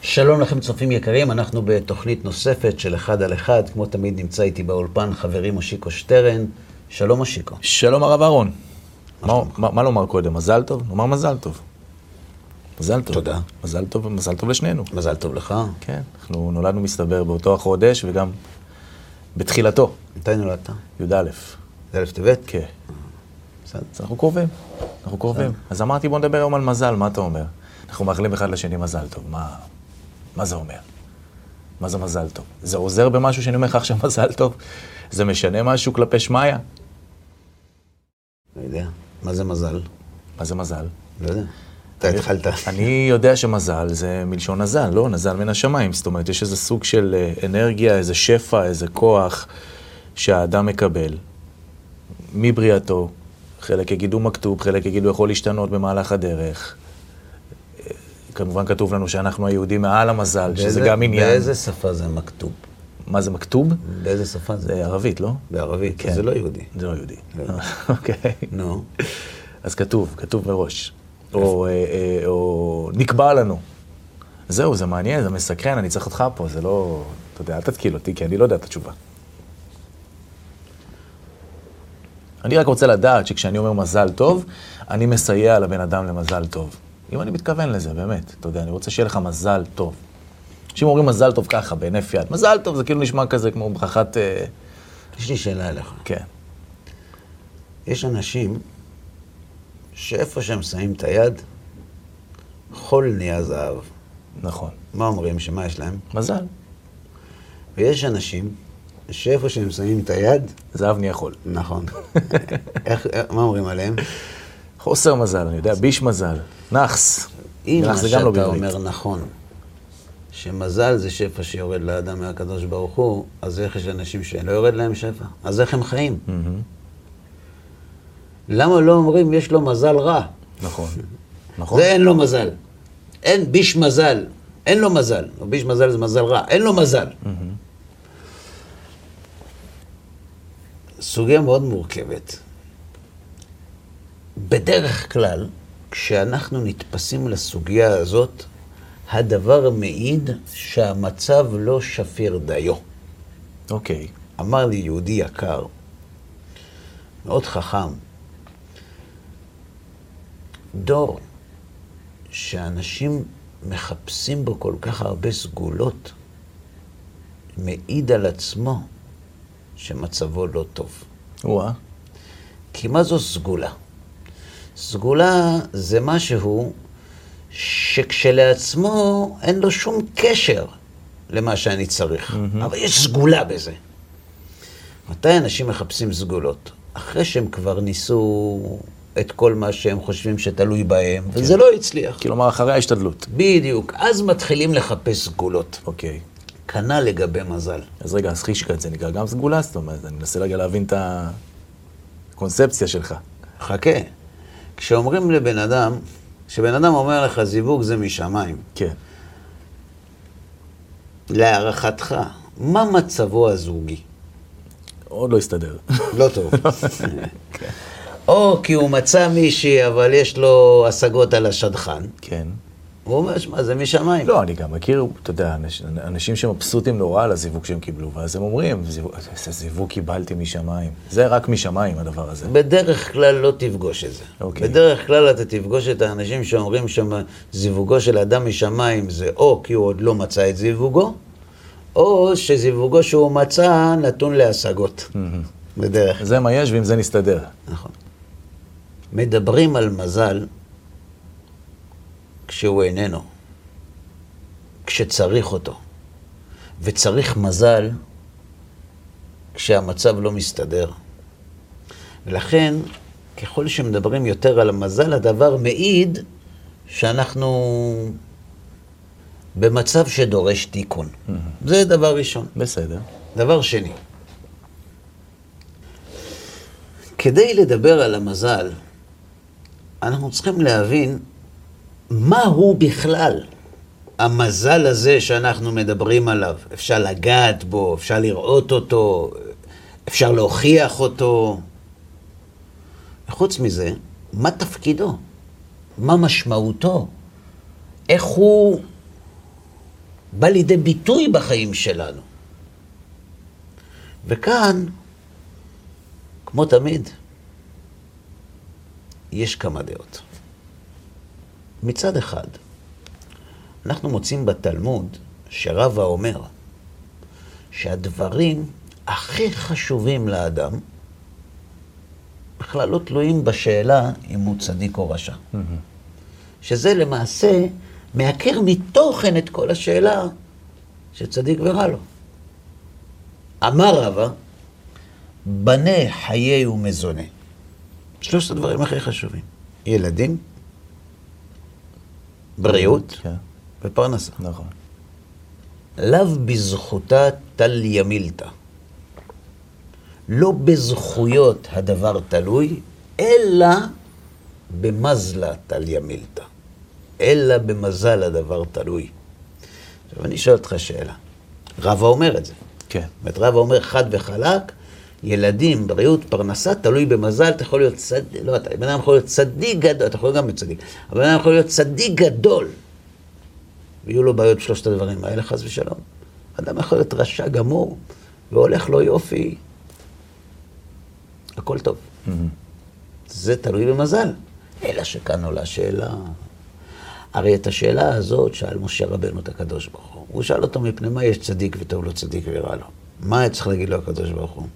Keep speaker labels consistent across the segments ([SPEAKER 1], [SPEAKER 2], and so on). [SPEAKER 1] שלום לכם צופים יקרים, אנחנו בתוכנית נוספת של אחד על אחד, כמו תמיד נמצא איתי באולפן חברי מושיקו שטרן. שלום מושיקו.
[SPEAKER 2] שלום הרב אהרון. מה, מה, מה לומר קודם? מזל טוב? נאמר מזל טוב. מזל טוב.
[SPEAKER 1] תודה.
[SPEAKER 2] מזל טוב, מזל טוב לשנינו.
[SPEAKER 1] מזל טוב לך.
[SPEAKER 2] כן, אנחנו נולדנו מסתבר באותו החודש וגם בתחילתו,
[SPEAKER 1] מתי נולדת?
[SPEAKER 2] י"א.
[SPEAKER 1] זה אלף טבת?
[SPEAKER 2] כן.
[SPEAKER 1] בסדר.
[SPEAKER 2] אז אנחנו קרובים, אנחנו קרובים. אז אמרתי בוא נדבר היום על מזל, מה אתה אומר? אנחנו מאחלים אחד לשני מזל טוב, מה, מה זה אומר? מה זה מזל טוב? זה עוזר במשהו שאני אומר לך עכשיו מזל טוב? זה משנה משהו כלפי שמיא?
[SPEAKER 1] לא יודע. מה זה מזל?
[SPEAKER 2] מה זה מזל?
[SPEAKER 1] לא יודע. אתה התחלת.
[SPEAKER 2] אני יודע שמזל זה מלשון נזל, לא? נזל מן השמיים. זאת אומרת, יש איזה סוג של אה, אנרגיה, איזה שפע, איזה כוח שהאדם מקבל מבריאתו. חלק יגידו מכתוב, חלק יגידו יכול להשתנות במהלך הדרך. אה, כמובן כתוב לנו שאנחנו היהודים מעל המזל, שזה
[SPEAKER 1] באיזה-
[SPEAKER 2] גם עניין.
[SPEAKER 1] באיזה שפה זה מכתוב?
[SPEAKER 2] מה זה מכתוב?
[SPEAKER 1] באיזה שפה זה?
[SPEAKER 2] זה ערבית, לא?
[SPEAKER 1] בערבית.
[SPEAKER 2] כן.
[SPEAKER 1] זה לא יהודי.
[SPEAKER 2] זה לא יהודי.
[SPEAKER 1] לא.
[SPEAKER 2] אוקיי.
[SPEAKER 1] נו.
[SPEAKER 2] אז כתוב, כתוב מראש. או, אה, אה, או נקבע לנו. זהו, זה מעניין, זה מסקרן, אני צריך אותך פה, זה לא... אתה יודע, אל תתקיל אותי, כי אני לא יודע את התשובה. אני רק רוצה לדעת שכשאני אומר מזל טוב, אני מסייע לבן אדם למזל טוב. אם אני מתכוון לזה, באמת, אתה יודע, אני רוצה שיהיה לך מזל טוב. כשאם אומרים מזל טוב ככה, בהינף יד, מזל טוב, זה כאילו נשמע כזה כמו ברכת... אה,
[SPEAKER 1] יש לי שאלה אליך.
[SPEAKER 2] כן.
[SPEAKER 1] יש אנשים שאיפה שהם שמים את היד, חול נהיה זהב.
[SPEAKER 2] נכון.
[SPEAKER 1] מה אומרים? שמה יש להם?
[SPEAKER 2] מזל,
[SPEAKER 1] ויש אנשים שאיפה שהם שמים את היד,
[SPEAKER 2] זהב נהיה חול.
[SPEAKER 1] נכון. איך, איך- מה אומרים עליהם?
[SPEAKER 2] חוסר מזל, אני יודע, ביש מזל, נאחס.
[SPEAKER 1] אם מה
[SPEAKER 2] נאחס זה
[SPEAKER 1] שאתה
[SPEAKER 2] גם לא
[SPEAKER 1] לא
[SPEAKER 2] בעברית.
[SPEAKER 1] אומר נכון, שמזל זה שפע שיורד לאדם מהקדוש ברוך הוא, אז איך יש אנשים שלא יורד להם שפע? אז איך הם חיים? למה לא אומרים יש לו מזל רע?
[SPEAKER 2] נכון, נכון.
[SPEAKER 1] זה אין לו מזל. אין ביש מזל. אין לו מזל. או ביש מזל זה מזל רע. אין לו מזל. סוגיה מאוד מורכבת. בדרך כלל, כשאנחנו נתפסים לסוגיה הזאת, הדבר מעיד שהמצב לא שפיר דיו.
[SPEAKER 2] אוקיי,
[SPEAKER 1] אמר לי יהודי יקר, מאוד חכם, דור שאנשים מחפשים בו כל כך הרבה סגולות, מעיד על עצמו שמצבו לא טוב.
[SPEAKER 2] וואה,
[SPEAKER 1] כי מה זו סגולה? סגולה זה משהו שכשלעצמו אין לו שום קשר למה שאני צריך, mm-hmm. אבל יש סגולה בזה. מתי אנשים מחפשים סגולות? אחרי שהם כבר ניסו את כל מה שהם חושבים שתלוי בהם, וזה לא הצליח.
[SPEAKER 2] כלומר כאילו, אחרי ההשתדלות.
[SPEAKER 1] בדיוק, אז מתחילים לחפש סגולות.
[SPEAKER 2] אוקיי,
[SPEAKER 1] כנ"ל לגבי מזל.
[SPEAKER 2] אז רגע, אז חישקה זה נקרא גם סגולה, זאת אומרת, אני מנסה רגע להבין את הקונספציה שלך.
[SPEAKER 1] חכה, כשאומרים לבן אדם, כשבן אדם אומר לך זיווג זה משמיים,
[SPEAKER 2] כן,
[SPEAKER 1] להערכתך, מה מצבו הזוגי?
[SPEAKER 2] עוד לא הסתדר.
[SPEAKER 1] לא טוב.
[SPEAKER 2] כן.
[SPEAKER 1] או כי הוא מצא מישהי, אבל יש לו השגות על השדכן.
[SPEAKER 2] כן.
[SPEAKER 1] הוא אומר, שמע, זה משמיים.
[SPEAKER 2] לא, אני גם מכיר, אתה יודע, אנש- אנשים שמבסוטים נורא על הזיווג שהם קיבלו, ואז הם אומרים, "זיווג- איזה זיווג קיבלתי משמיים. זה רק משמיים, הדבר הזה.
[SPEAKER 1] בדרך כלל לא תפגוש את זה.
[SPEAKER 2] אוקיי.
[SPEAKER 1] בדרך כלל אתה תפגוש את האנשים שאומרים שזיווגו של אדם משמיים זה או כי הוא עוד לא מצא את זיווגו, או שזיווגו שהוא מצא נתון להשגות.
[SPEAKER 2] Mm.
[SPEAKER 1] בדרך
[SPEAKER 2] זה מה יש, ועם זה נסתדר.
[SPEAKER 1] נכון. מדברים על מזל כשהוא איננו, כשצריך אותו, וצריך מזל כשהמצב לא מסתדר. ולכן, ככל שמדברים יותר על המזל, הדבר מעיד שאנחנו במצב שדורש תיקון. זה דבר ראשון.
[SPEAKER 2] בסדר.
[SPEAKER 1] דבר שני, כדי לדבר על המזל, אנחנו צריכים להבין מהו בכלל המזל הזה שאנחנו מדברים עליו. אפשר לגעת בו, אפשר לראות אותו, אפשר להוכיח אותו. חוץ מזה, מה תפקידו? מה משמעותו? איך הוא בא לידי ביטוי בחיים שלנו. וכאן, כמו תמיד, יש כמה דעות. מצד אחד, אנחנו מוצאים בתלמוד שרבא אומר שהדברים הכי חשובים לאדם בכלל לא תלויים בשאלה אם הוא צדיק או רשע. שזה למעשה מעקר מתוכן את כל השאלה שצדיק ורע לו. אמר רבא, בנה חיי ומזונה. שלושת הדברים הכי חשובים. ילדים, בריאות
[SPEAKER 2] כן,
[SPEAKER 1] ופרנסה.
[SPEAKER 2] נכון.
[SPEAKER 1] לאו בזכותה תל ימילתא. לא בזכויות הדבר תלוי, אלא במזלה תל ימילתא. אלא במזל הדבר תלוי. עכשיו אני שואל אותך שאלה. רבא אומר את זה.
[SPEAKER 2] כן.
[SPEAKER 1] זאת אומרת, רבא אומר חד וחלק, ילדים, בריאות, פרנסה, תלוי במזל, אתה יכול להיות צדיק, לא, אתה, בן אדם יכול להיות צדיק גדול, אתה יכול להיות גם להיות צדיק, אבל בן אדם יכול להיות צדיק גדול, ויהיו לו בעיות בשלושת הדברים האלה, חס ושלום. אדם יכול להיות רשע גמור, והולך לו יופי, הכל טוב.
[SPEAKER 2] mm-hmm.
[SPEAKER 1] זה תלוי במזל. אלא שכאן עולה שאלה. הרי את השאלה הזאת שאל משה רבנו את הקדוש ברוך הוא. הוא שאל אותו מפני מה יש צדיק וטוב לו צדיק ורע לו. מה היה צריך להגיד לו הקדוש ברוך הוא?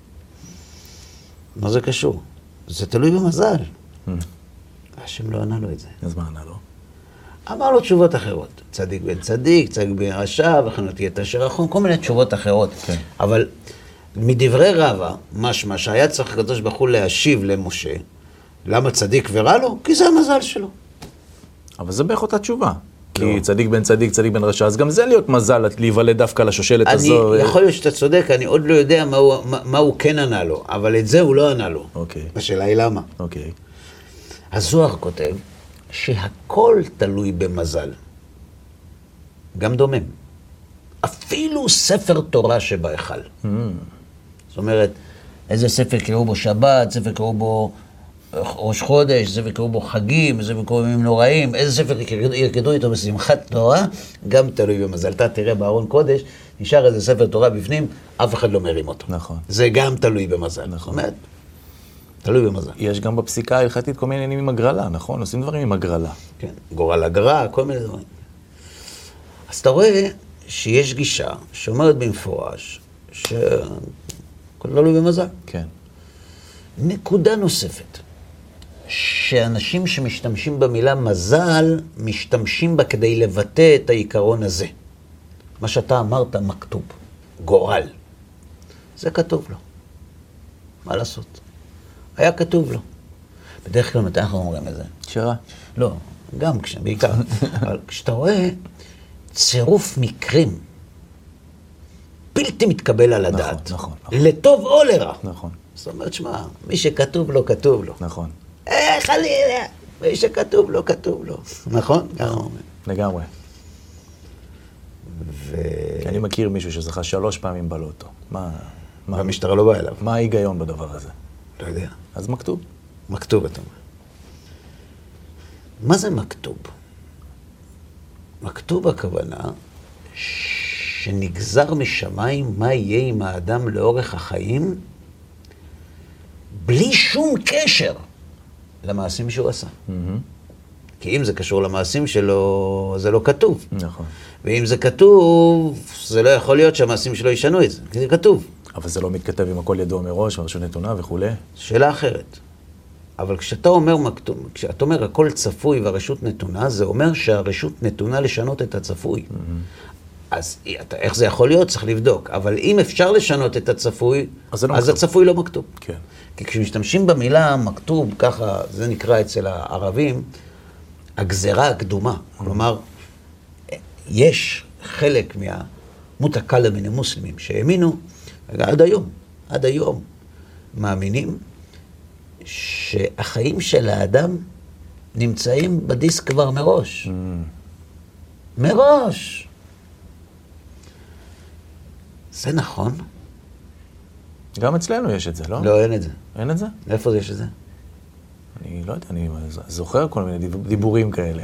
[SPEAKER 1] מה זה קשור? זה תלוי במזל. השם לא ענה לו את זה.
[SPEAKER 2] אז מה ענה לו?
[SPEAKER 1] אמר לו תשובות אחרות. צדיק בן צדיק, צדיק בן רשע, וכן לא תהיה את אשר רחום, כל מיני תשובות אחרות.
[SPEAKER 2] כן.
[SPEAKER 1] אבל מדברי רבא, משמע שהיה צריך הקדוש ברוך הוא להשיב למשה, למה צדיק ורע לו? כי זה המזל שלו.
[SPEAKER 2] אבל זה בערך אותה תשובה.
[SPEAKER 1] לא.
[SPEAKER 2] כי צדיק בן צדיק, צדיק בן רשע, אז גם זה להיות מזל להיוולד דווקא לשושלת
[SPEAKER 1] אני,
[SPEAKER 2] הזו. אה,
[SPEAKER 1] יכול להיות שאתה צודק, אני עוד לא יודע מה הוא, מה, מה הוא כן ענה לו, אבל את זה הוא לא ענה לו.
[SPEAKER 2] אוקיי.
[SPEAKER 1] השאלה היא למה.
[SPEAKER 2] אוקיי.
[SPEAKER 1] הזוהר כותב שהכל תלוי במזל. גם דומם. אפילו ספר תורה שבהיכל. זאת אומרת, איזה ספר קראו בו שבת, ספר קראו בו אה, ראש חודש, ספר קראו בו חגים, ספר קראו בו ימים נוראים, איזה ספר ירקדו- ירקדו איתו בשמחת תורה, גם תלוי במזל. אתה תראה בארון קודש, נשאר איזה ספר תורה בפנים, אף אחד לא מרים אותו.
[SPEAKER 2] נכון.
[SPEAKER 1] זה גם תלוי במזל. נכון. זאת אומרת, תלוי במזל.
[SPEAKER 2] יש גם בפסיקה ההלכתית כל מיני עניינים עם הגרלה, נכון? עושים דברים עם הגרלה.
[SPEAKER 1] כן, גורל הגרע, כל מיני דברים. אז אתה רואה שיש גישה שאומרת במפורש שהכל תלוי במזל.
[SPEAKER 2] כן.
[SPEAKER 1] נקודה נוספת, שאנשים שמשתמשים במילה מזל, משתמשים בה כדי לבטא את העיקרון הזה. מה שאתה אמרת מכתוב, גורל. זה כתוב לו. מה לעשות? היה כתוב לו. בדרך כלל מתי אנחנו אומרים את זה?
[SPEAKER 2] שירה.
[SPEAKER 1] לא, גם כש... בעיקר. אבל כשאתה רואה צירוף מקרים בלתי מתקבל על
[SPEAKER 2] נכון,
[SPEAKER 1] הדעת,
[SPEAKER 2] נכון, נכון.
[SPEAKER 1] לטוב או לרע.
[SPEAKER 2] נכון.
[SPEAKER 1] זאת אומרת, שמע, מי שכתוב לו, כתוב לו.
[SPEAKER 2] נכון.
[SPEAKER 1] אה, חלילה, מי שכתוב לו, כתוב לו. נכון? ככה אומרים.
[SPEAKER 2] לגמרי.
[SPEAKER 1] ו-
[SPEAKER 2] כי אני מכיר מישהו שזכה שלוש פעמים בלוטו. מה... מה-
[SPEAKER 1] והמשטרה לא באה אליו.
[SPEAKER 2] מה ההיגיון בדבר הזה?
[SPEAKER 1] לא יודע.
[SPEAKER 2] אז מכתוב.
[SPEAKER 1] מכתוב, אתה אומר. מה זה מכתוב? מכתוב הכוונה שנגזר משמיים מה יהיה עם האדם לאורך החיים בלי שום קשר למעשים שהוא עשה. כי אם זה קשור למעשים שלו, זה לא כתוב.
[SPEAKER 2] נכון.
[SPEAKER 1] ואם זה כתוב, זה לא יכול להיות שהמעשים שלו ישנו את זה, כי זה כתוב.
[SPEAKER 2] אבל זה לא מתכתב עם הכל ידוע מראש, והרשות נתונה וכולי.
[SPEAKER 1] שאלה אחרת. אבל כשאתה אומר, מכתוב- כשאתה אומר הכל צפוי והרשות נתונה, זה אומר שהרשות נתונה לשנות את הצפוי.
[SPEAKER 2] Mm-hmm.
[SPEAKER 1] אז אי- אתה, איך זה יכול להיות? צריך לבדוק. אבל אם אפשר לשנות את הצפוי,
[SPEAKER 2] אז זה לא
[SPEAKER 1] אז
[SPEAKER 2] מכתוב.
[SPEAKER 1] הצפוי לא מכתוב.
[SPEAKER 2] כן.
[SPEAKER 1] כי כשמשתמשים במילה מכתוב, ככה זה נקרא אצל הערבים, הגזרה הקדומה. כלומר, יש חלק מהמותקלה מן המוסלמים שהאמינו, עד היום, עד היום, מאמינים שהחיים של האדם נמצאים בדיסק כבר מראש. מראש. זה נכון?
[SPEAKER 2] גם אצלנו יש את זה, לא?
[SPEAKER 1] לא, אין את זה.
[SPEAKER 2] אין את זה?
[SPEAKER 1] איפה יש את זה?
[SPEAKER 2] אני לא יודע, אני ז- זוכר כל מיני דיב- דיבורים כאלה.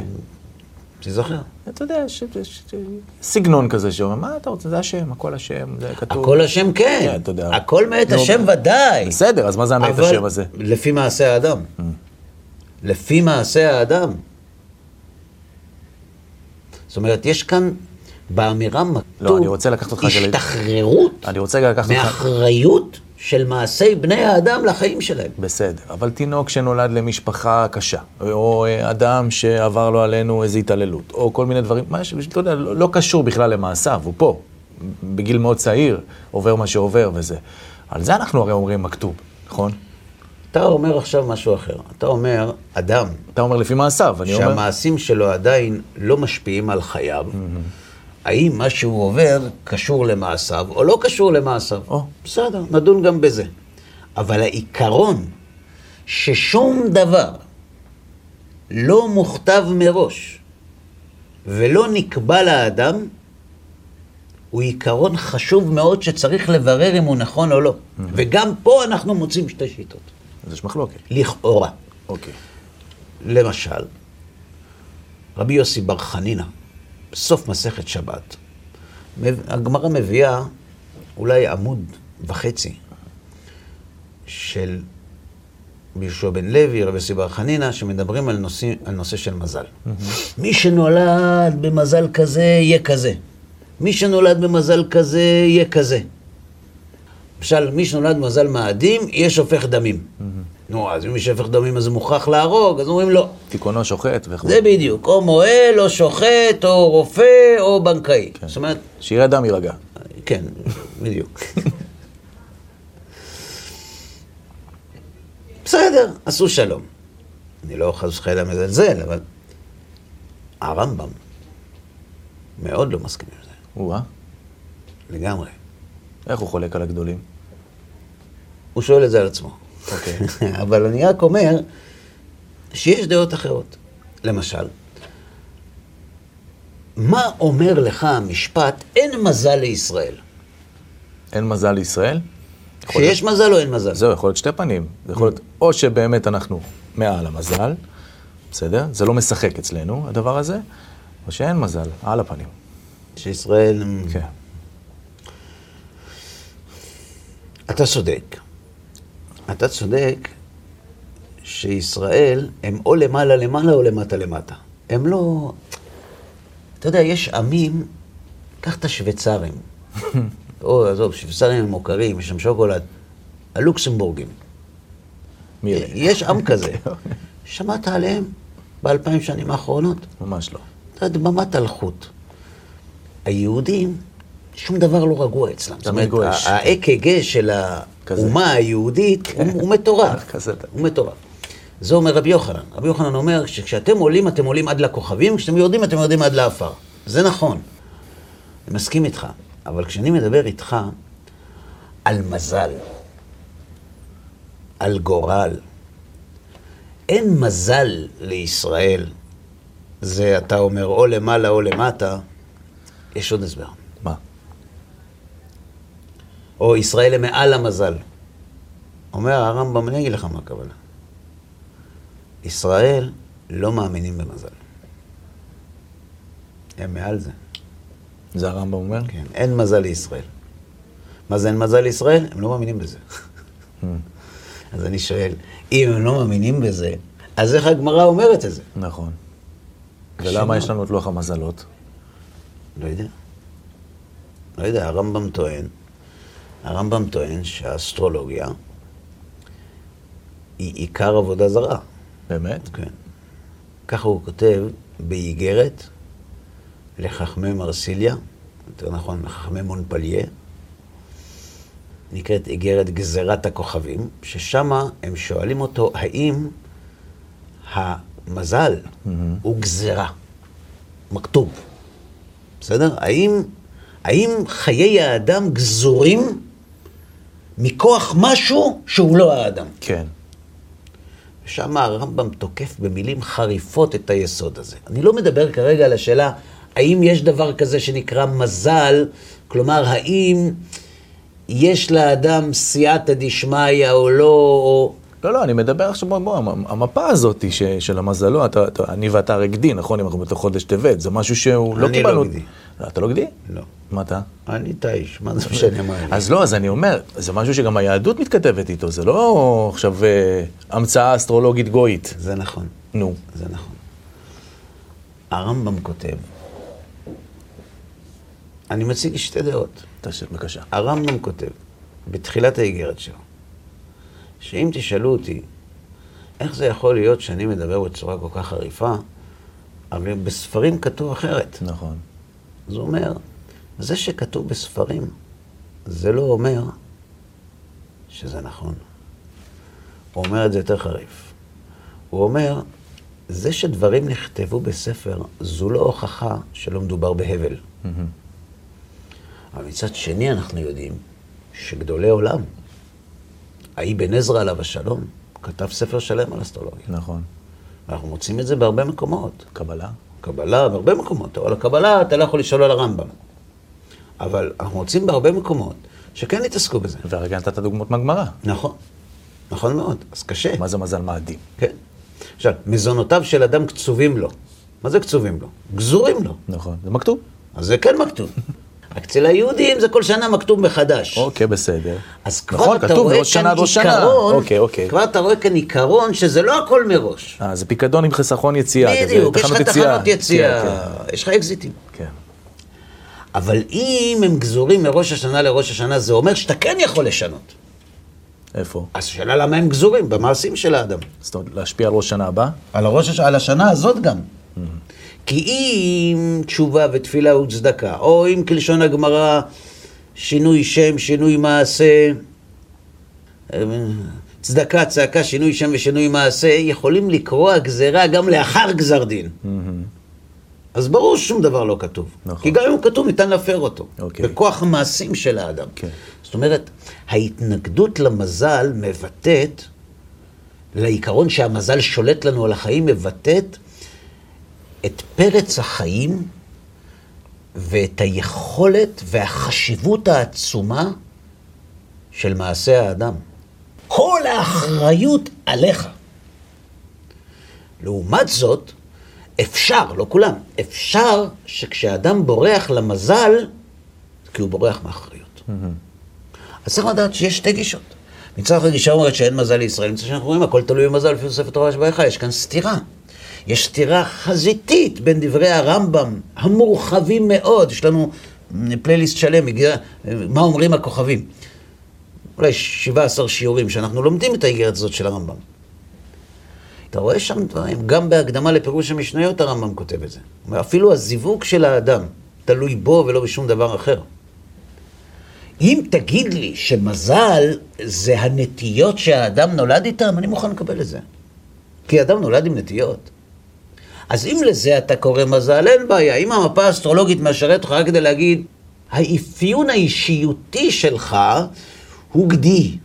[SPEAKER 1] תיזכר.
[SPEAKER 2] אתה יודע, ש... ש... ש... סגנון כזה שאומר, מה אתה רוצה, זה השם, הכל השם, זה כתוב.
[SPEAKER 1] הכל השם כן.
[SPEAKER 2] כן, אתה יודע.
[SPEAKER 1] הכל מאת
[SPEAKER 2] נו,
[SPEAKER 1] השם ודאי.
[SPEAKER 2] בסדר, אז מה זה המאת
[SPEAKER 1] אבל
[SPEAKER 2] השם הזה? אה.
[SPEAKER 1] לפי מעשה האדם. לפי מעשה האדם. זאת אומרת, יש כאן באמירה
[SPEAKER 2] לא, אני
[SPEAKER 1] מכתוב
[SPEAKER 2] רוצה לקחת אותך... רגע ל-
[SPEAKER 1] השתחררות
[SPEAKER 2] אני רוצה רגע לקחת אותך...
[SPEAKER 1] מאחריות של מעשי בני האדם לחיים שלהם.
[SPEAKER 2] בסדר, אבל תינוק שנולד למשפחה קשה, או אה, אדם שעבר לו עלינו איזו התעללות, או כל מיני דברים, מה ש... אתה יודע, לא, לא קשור בכלל למעשיו, הוא פה, בגיל מאוד צעיר, עובר מה שעובר וזה. על זה אנחנו הרי אומרים מכתוב, נכון?
[SPEAKER 1] אתה אומר עכשיו משהו אחר. אתה אומר, אדם
[SPEAKER 2] אתה אומר לפי מעשיו, אני אומר...
[SPEAKER 1] שהמעשים שלו עדיין לא משפיעים על חייו, האם מה שהוא עובר קשור למעשיו או לא קשור למעשיו.
[SPEAKER 2] או.
[SPEAKER 1] בסדר, נדון גם בזה. אבל העיקרון ששום דבר לא מוכתב מראש ולא נקבע לאדם, הוא עיקרון חשוב מאוד שצריך לברר אם הוא נכון או לא. וגם פה אנחנו מוצאים שתי שיטות,
[SPEAKER 2] אז יש מחלוקת.
[SPEAKER 1] לכאורה.
[SPEAKER 2] אוקיי.
[SPEAKER 1] למשל, רבי יוסי בר חנינא, בסוף מסכת שבת, מב- הגמרא מביאה אולי עמוד וחצי של רבי יהושע בן לוי, רבי יוסי בר חנינא, שמדברים על נושא, על נושא של מזל. מי שנולד במזל כזה, יהיה כזה. מי שנולד במזל כזה, יהיה כזה. למשל, מי שנולד במזל מאדים, יהיה שופך דמים. נו, אז מי שופך דמים אז הוא מוכרח להרוג, אז אומרים לא.
[SPEAKER 2] תיקונו שוחט וכו'.
[SPEAKER 1] זה בדיוק, או מוהל, או שוחט, או רופא, או בנקאי. זאת אומרת,
[SPEAKER 2] שירי אדם יירגע.
[SPEAKER 1] כן, בדיוק. בסדר, עשו שלום. אני לא חס וחלילה מזלזל, אבל הרמב"ם מאוד לא מסכים עם זה,
[SPEAKER 2] או-אה,
[SPEAKER 1] לגמרי.
[SPEAKER 2] אה? איך הוא חולק על הגדולים?
[SPEAKER 1] הוא שואל את זה על עצמו.
[SPEAKER 2] אוקיי.
[SPEAKER 1] אבל אני רק אומר שיש דעות אחרות. למשל, מה אומר לך המשפט אין מזל לישראל?
[SPEAKER 2] אין מזל לישראל? יכול להיות-
[SPEAKER 1] שיש מזל או אין מזל?
[SPEAKER 2] זהו, יכול להיות שתי פנים. זה יכול להיות, או שבאמת אנחנו מעל המזל, בסדר? זה לא משחק אצלנו, הדבר הזה, או שאין מזל, על הפנים.
[SPEAKER 1] שישראל...
[SPEAKER 2] כן.
[SPEAKER 1] אתה צודק. אתה צודק שישראל הם או למעלה למעלה או למטה למטה. הם לא... אתה יודע, יש עמים, קח את השוויצרים. או, עזוב, שוויצרים הם מוכרים, יש שם שוקולד. הלוקסמבורגים.
[SPEAKER 2] מי אלה?
[SPEAKER 1] יש עם כזה. שמעת עליהם באלפיים שנים האחרונות?
[SPEAKER 2] ממש לא.
[SPEAKER 1] אתה דממת אלחוט. היהודים, שום דבר לא רגוע אצלם. זאת אומרת,
[SPEAKER 2] גועש.
[SPEAKER 1] ה- ה-AKG של האומה היהודית הוא- הוא מטורף.
[SPEAKER 2] כזה אתה.
[SPEAKER 1] הוא מטורף. זה אומר רבי יוחנן. רבי יוחנן אומר שכשאתם עולים, אתם עולים עד לכוכבים, כשאתם יורדים, אתם יורדים עד לעפר. זה נכון. אני מסכים איתך. אבל כשאני מדבר איתך על מזל, על גורל, אין מזל לישראל. זה אתה אומר או למעלה או למטה, יש עוד הסבר.
[SPEAKER 2] מה?
[SPEAKER 1] או ישראל הם מעל המזל. אומר הרמב"ם, אני אגיד לך מה הכוונה. ישראל לא מאמינים במזל. הם מעל זה.
[SPEAKER 2] זה הרמב"ם אומר?
[SPEAKER 1] כן, אין מזל לישראל. מה זה אין מזל לישראל? הם לא מאמינים בזה. אז אני שואל, אם הם לא מאמינים בזה, אז איך הגמרא אומרת את זה?
[SPEAKER 2] נכון.
[SPEAKER 1] קשה
[SPEAKER 2] ולמה
[SPEAKER 1] מאוד.
[SPEAKER 2] יש לנו את לוח המזלות?
[SPEAKER 1] לא יודע. לא יודע, הרמב"ם טוען, הרמב"ם טוען שהאסטרולוגיה היא עיקר עבודה זרה.
[SPEAKER 2] באמת?
[SPEAKER 1] כן. ככה הוא כותב באיגרת לחכמי מרסיליה, יותר נכון, לחכמי מונפליה, נקראת איגרת גזירת הכוכבים, ששם הם שואלים אותו האם המזל הוא גזירה, מכתוב, בסדר? האם, האם חיי האדם גזורים מכוח משהו שהוא לא האדם?
[SPEAKER 2] כן.
[SPEAKER 1] שם הרמב"ם תוקף במילים חריפות את היסוד הזה. אני לא מדבר כרגע על השאלה האם יש דבר כזה שנקרא מזל, כלומר, האם יש לאדם סייעתא דשמיא או לא, או...
[SPEAKER 2] לא, לא, אני מדבר עכשיו, בוא, בוא, המ- המפה הזאת ש, של המזלו, אתה, אתה, אני ואתה רגדי, נכון? אם אנחנו בתוך חודש טבת, זה משהו שהוא, לא
[SPEAKER 1] אני לא
[SPEAKER 2] קיבלנו...
[SPEAKER 1] גדי.
[SPEAKER 2] לא, אתה לא גדי?
[SPEAKER 1] לא.
[SPEAKER 2] מה אתה?
[SPEAKER 1] אני תאיש, מה זה משנה מה אני?
[SPEAKER 2] אז לא, אז אני אומר, זה משהו שגם היהדות מתכתבת איתו, זה לא עכשיו אה, המצאה אסטרולוגית גויית.
[SPEAKER 1] זה נכון,
[SPEAKER 2] נו.
[SPEAKER 1] זה נכון. הרמב"ם כותב, אני מציג שתי דעות.
[SPEAKER 2] תשאל, בבקשה.
[SPEAKER 1] הרמב"ם כותב, בתחילת האיגרת שלו, שאם תשאלו אותי, איך זה יכול להיות שאני מדבר בצורה כל כך חריפה, אבל בספרים כתוב אחרת.
[SPEAKER 2] נכון.
[SPEAKER 1] זה אומר, זה שכתוב בספרים, זה לא אומר שזה נכון. הוא אומר את זה יותר חריף. הוא אומר, זה שדברים נכתבו בספר, זו לא הוכחה שלא מדובר בהבל. אבל מצד שני אנחנו יודעים שגדולי עולם, האבן עזרא עליו השלום, כתב ספר שלם על אסטרולוגיה.
[SPEAKER 2] נכון.
[SPEAKER 1] ואנחנו מוצאים את זה בהרבה מקומות.
[SPEAKER 2] קבלה?
[SPEAKER 1] קבלה, בהרבה מקומות. אבל הקבלה, אתה לא יכול לשאול על הרמב"ם. אבל אנחנו מוצאים בהרבה מקומות שכן התעסקו בזה.
[SPEAKER 2] והרגע נתת דוגמאות מהגמרא.
[SPEAKER 1] נכון. נכון מאוד. אז קשה.
[SPEAKER 2] מה זה מזל מאדים?
[SPEAKER 1] כן. עכשיו, מזונותיו של אדם קצובים לו. מה זה קצובים לו? גזורים לו.
[SPEAKER 2] נכון. זה מכתוב.
[SPEAKER 1] אז זה כן מכתוב. רק אצל היהודים זה כל שנה מכתוב מחדש.
[SPEAKER 2] אוקיי, בסדר.
[SPEAKER 1] אז כבר
[SPEAKER 2] נכון,
[SPEAKER 1] אתה
[SPEAKER 2] כתוב,
[SPEAKER 1] רואה
[SPEAKER 2] מראש שנה
[SPEAKER 1] כאן
[SPEAKER 2] עד ראש שנה.
[SPEAKER 1] עיקרון,
[SPEAKER 2] אוקיי, אוקיי.
[SPEAKER 1] כבר אתה רואה כאן עיקרון שזה לא הכל מראש.
[SPEAKER 2] אה, זה פיקדון עם חיסכון יציאה. כזה,
[SPEAKER 1] בדיוק, יש לך
[SPEAKER 2] אה, יציאה.
[SPEAKER 1] תחנות יציאה,
[SPEAKER 2] כן,
[SPEAKER 1] יש לך אקזיטים.
[SPEAKER 2] כן. כן.
[SPEAKER 1] אבל אם הם גזורים מראש השנה לראש השנה, זה אומר שאתה כן יכול לשנות.
[SPEAKER 2] איפה?
[SPEAKER 1] אז השאלה למה הם גזורים, במעשים של האדם.
[SPEAKER 2] זאת אומרת, להשפיע על ראש שנה הבא?
[SPEAKER 1] על, הראש, הש- על השנה הזאת גם. כי אם תשובה ותפילה וצדקה, או אם כלשון הגמרא, שינוי שם, שינוי מעשה, אה, צדקה, צעקה, שינוי שם ושינוי מעשה, יכולים לקרוע גזירה גם לאחר גזר דין.
[SPEAKER 2] Mm-hmm.
[SPEAKER 1] אז ברור ששום דבר לא כתוב.
[SPEAKER 2] נכון.
[SPEAKER 1] כי גם אם הוא כתוב, ניתן להפר אותו.
[SPEAKER 2] אוקיי.
[SPEAKER 1] בכוח המעשים של האדם.
[SPEAKER 2] כן.
[SPEAKER 1] זאת אומרת, ההתנגדות למזל מבטאת, לעיקרון שהמזל שולט לנו על החיים, מבטאת את פרץ החיים ואת היכולת והחשיבות העצומה של מעשה האדם. כל האחריות עליך. לעומת זאת, אפשר, לא כולם, אפשר שכשאדם בורח למזל, כי הוא בורח מאחריות. Mm-hmm. אז צריך לדעת שיש שתי גישות. מצד אחד גישה אומרת שאין מזל לישראל, מצד שאנחנו רואים הכל תלוי במזל, לפי ספר תורה שבהיכל, יש כאן סתירה. יש סתירה חזיתית בין דברי הרמב"ם, המורחבים מאוד, יש לנו פלייליסט שלם, הגיע- מה אומרים הכוכבים. אולי 17 שיעורים שאנחנו לומדים את האיגרת הזאת של הרמב"ם. אתה רואה שם דברים, גם בהקדמה לפירוש המשניות הרמב"ם כותב את זה. הוא אומר, אפילו הזיווג של האדם תלוי בו ולא בשום דבר אחר. אם תגיד לי שמזל זה הנטיות שהאדם נולד איתן, אני מוכן לקבל את זה. כי אדם נולד עם נטיות. אז אם לזה אתה קורא מזל, אין בעיה. אם המפה האסטרולוגית מאשרת אותך רק כדי להגיד, האפיון האישיותי שלך הוא גדי.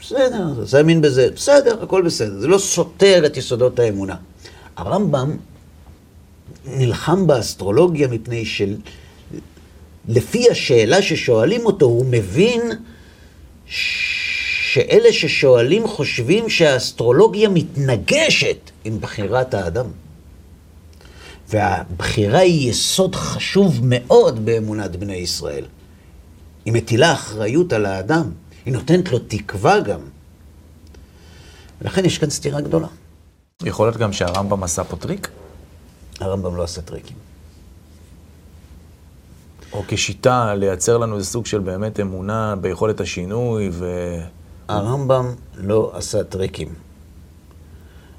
[SPEAKER 1] בסדר, תאמין בזה. בסדר, הכל בסדר. זה לא סותר את יסודות האמונה. הרמב"ם נלחם באסטרולוגיה מפני של... לפי השאלה ששואלים אותו, הוא מבין ש- שאלה ששואלים חושבים שהאסטרולוגיה מתנגשת עם בחירת האדם. והבחירה היא יסוד חשוב מאוד באמונת בני ישראל. היא מטילה אחריות על האדם, היא נותנת לו תקווה גם. ולכן יש כאן סתירה גדולה.
[SPEAKER 2] יכול להיות גם שהרמב"ם עשה פה טריק?
[SPEAKER 1] הרמב"ם לא עשה טריקים.
[SPEAKER 2] או כשיטה לייצר לנו איזה סוג של באמת אמונה ביכולת השינוי ו...
[SPEAKER 1] הרמב"ם לא עשה טריקים.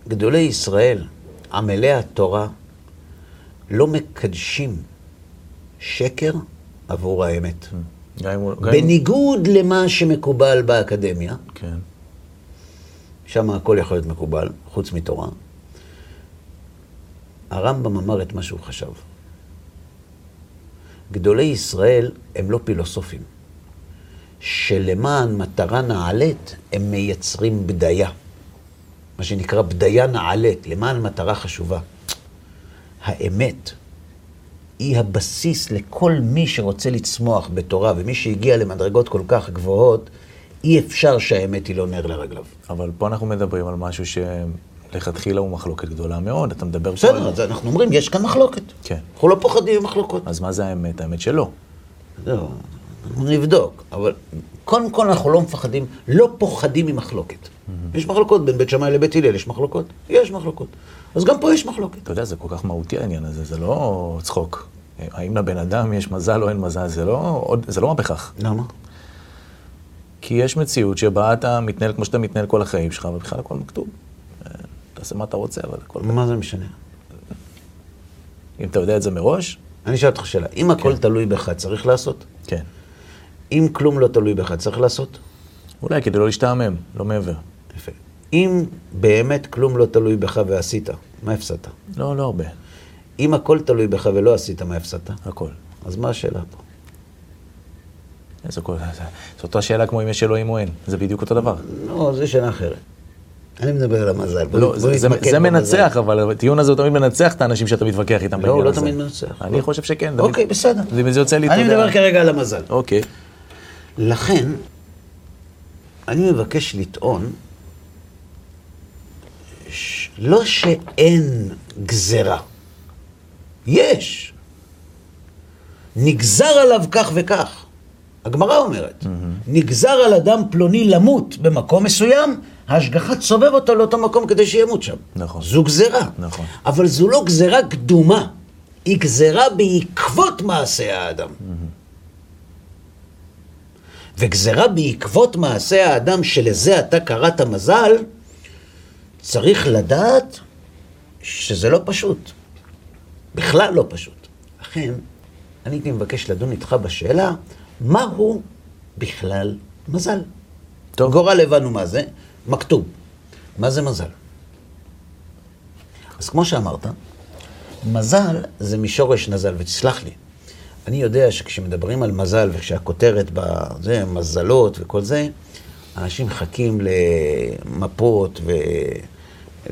[SPEAKER 1] גדולי ישראל, עמלי התורה, לא מקדשים שקר עבור האמת.
[SPEAKER 2] גם אם הוא... גם אם-
[SPEAKER 1] בניגוד למה שמקובל באקדמיה,
[SPEAKER 2] כן.
[SPEAKER 1] שם הכל יכול להיות מקובל, חוץ מתורה, הרמב"ם אמר את מה שהוא חשב. גדולי ישראל הם לא פילוסופים, שלמען מטרה נעלית הם מייצרים בדיה, מה שנקרא בדיה נעלית, למען מטרה חשובה. האמת היא הבסיס לכל מי שרוצה לצמוח בתורה, ומי שהגיע למדרגות כל כך גבוהות, אי אפשר שהאמת היא לא נר לרגליו.
[SPEAKER 2] אבל פה אנחנו מדברים על משהו שלכתחילה הוא מחלוקת גדולה מאוד, אתה מדבר פה
[SPEAKER 1] בסדר,
[SPEAKER 2] על...
[SPEAKER 1] אז אנחנו אומרים, יש כאן מחלוקת.
[SPEAKER 2] כן.
[SPEAKER 1] אנחנו לא פוחדים ממחלוקות.
[SPEAKER 2] אז מה זה האמת? האמת שלא.
[SPEAKER 1] לא, אנחנו נבדוק, אבל קודם כל אנחנו לא מפחדים, לא פוחדים ממחלוקת. יש מחלוקות בין בית שמאי לבית הלל, יש מחלוקות? יש מחלוקות. אז גם פה יש מחלוקת.
[SPEAKER 2] אתה יודע, זה כל כך מהותי העניין הזה, זה לא צחוק. האם לבן אדם יש מזל או אין מזל, זה לא, עוד- זה לא מה בכך.
[SPEAKER 1] למה?
[SPEAKER 2] כי יש מציאות שבה אתה מתנהל כמו שאתה מתנהל כל החיים שלך, ובכלל הכל מכתוב. אה, תעשה מה אתה רוצה, אבל הכל...
[SPEAKER 1] מה זה משנה?
[SPEAKER 2] אם אתה יודע את זה מראש,
[SPEAKER 1] אני אשאל אותך שאלה, אם הכל תלוי בך, צריך לעשות?
[SPEAKER 2] כן.
[SPEAKER 1] אם כלום לא תלוי בך, צריך לעשות?
[SPEAKER 2] אולי כדי לא להשתעמם, לא מעבר.
[SPEAKER 1] יפה. אם באמת כלום לא תלוי בך ועשית, מה הפסדת?
[SPEAKER 2] לא, לא הרבה.
[SPEAKER 1] אם הכל תלוי בך ולא עשית, מה הפסדת?
[SPEAKER 2] הכל.
[SPEAKER 1] אז מה השאלה פה?
[SPEAKER 2] זה כל... זה- זו אותה שאלה כמו אם יש אלוהים או אין. זה בדיוק אותו דבר.
[SPEAKER 1] לא, זו שאלה אחרת. אני מדבר על המזל. בוא
[SPEAKER 2] לא,
[SPEAKER 1] נ-
[SPEAKER 2] זה,
[SPEAKER 1] בוא
[SPEAKER 2] זה,
[SPEAKER 1] נתמקד במזל.
[SPEAKER 2] זה מנצח, אבל הטיעון הזה הוא תמיד מנצח את האנשים שאתה מתווכח איתם
[SPEAKER 1] לא, הוא
[SPEAKER 2] בעניין
[SPEAKER 1] לא
[SPEAKER 2] הזה.
[SPEAKER 1] תמיד מנצח.
[SPEAKER 2] אני חושב שכן. תמיד-
[SPEAKER 1] אוקיי, בסדר.
[SPEAKER 2] זה- זה יוצא לי, אתה
[SPEAKER 1] אני
[SPEAKER 2] יודע.
[SPEAKER 1] מדבר כרגע על המזל.
[SPEAKER 2] אוקיי.
[SPEAKER 1] לכן, אני מבקש לטעון, ש... לא שאין גזרה. יש. נגזר עליו כך וכך. הגמרא אומרת, נגזר על אדם פלוני למות במקום מסוים, ההשגחה תסובב אותו לאותו מקום כדי שימות שם.
[SPEAKER 2] נכון.
[SPEAKER 1] זו גזרה.
[SPEAKER 2] נכון.
[SPEAKER 1] אבל זו לא גזרה קדומה, היא גזרה בעקבות מעשה האדם. וגזרה בעקבות מעשה האדם שלזה אתה קראת מזל, צריך לדעת שזה לא פשוט. בכלל לא פשוט. לכן, אני הייתי מבקש לדון איתך בשאלה, מהו בכלל מזל? טוב. גורל הבנו מה זה, מכתוב. מה זה מזל? אז כמו שאמרת, מזל זה משורש נזל, ותסלח לי. אני יודע שכשמדברים על מזל וכשהכותרת בזה, מזלות וכל זה, אנשים מחכים למפות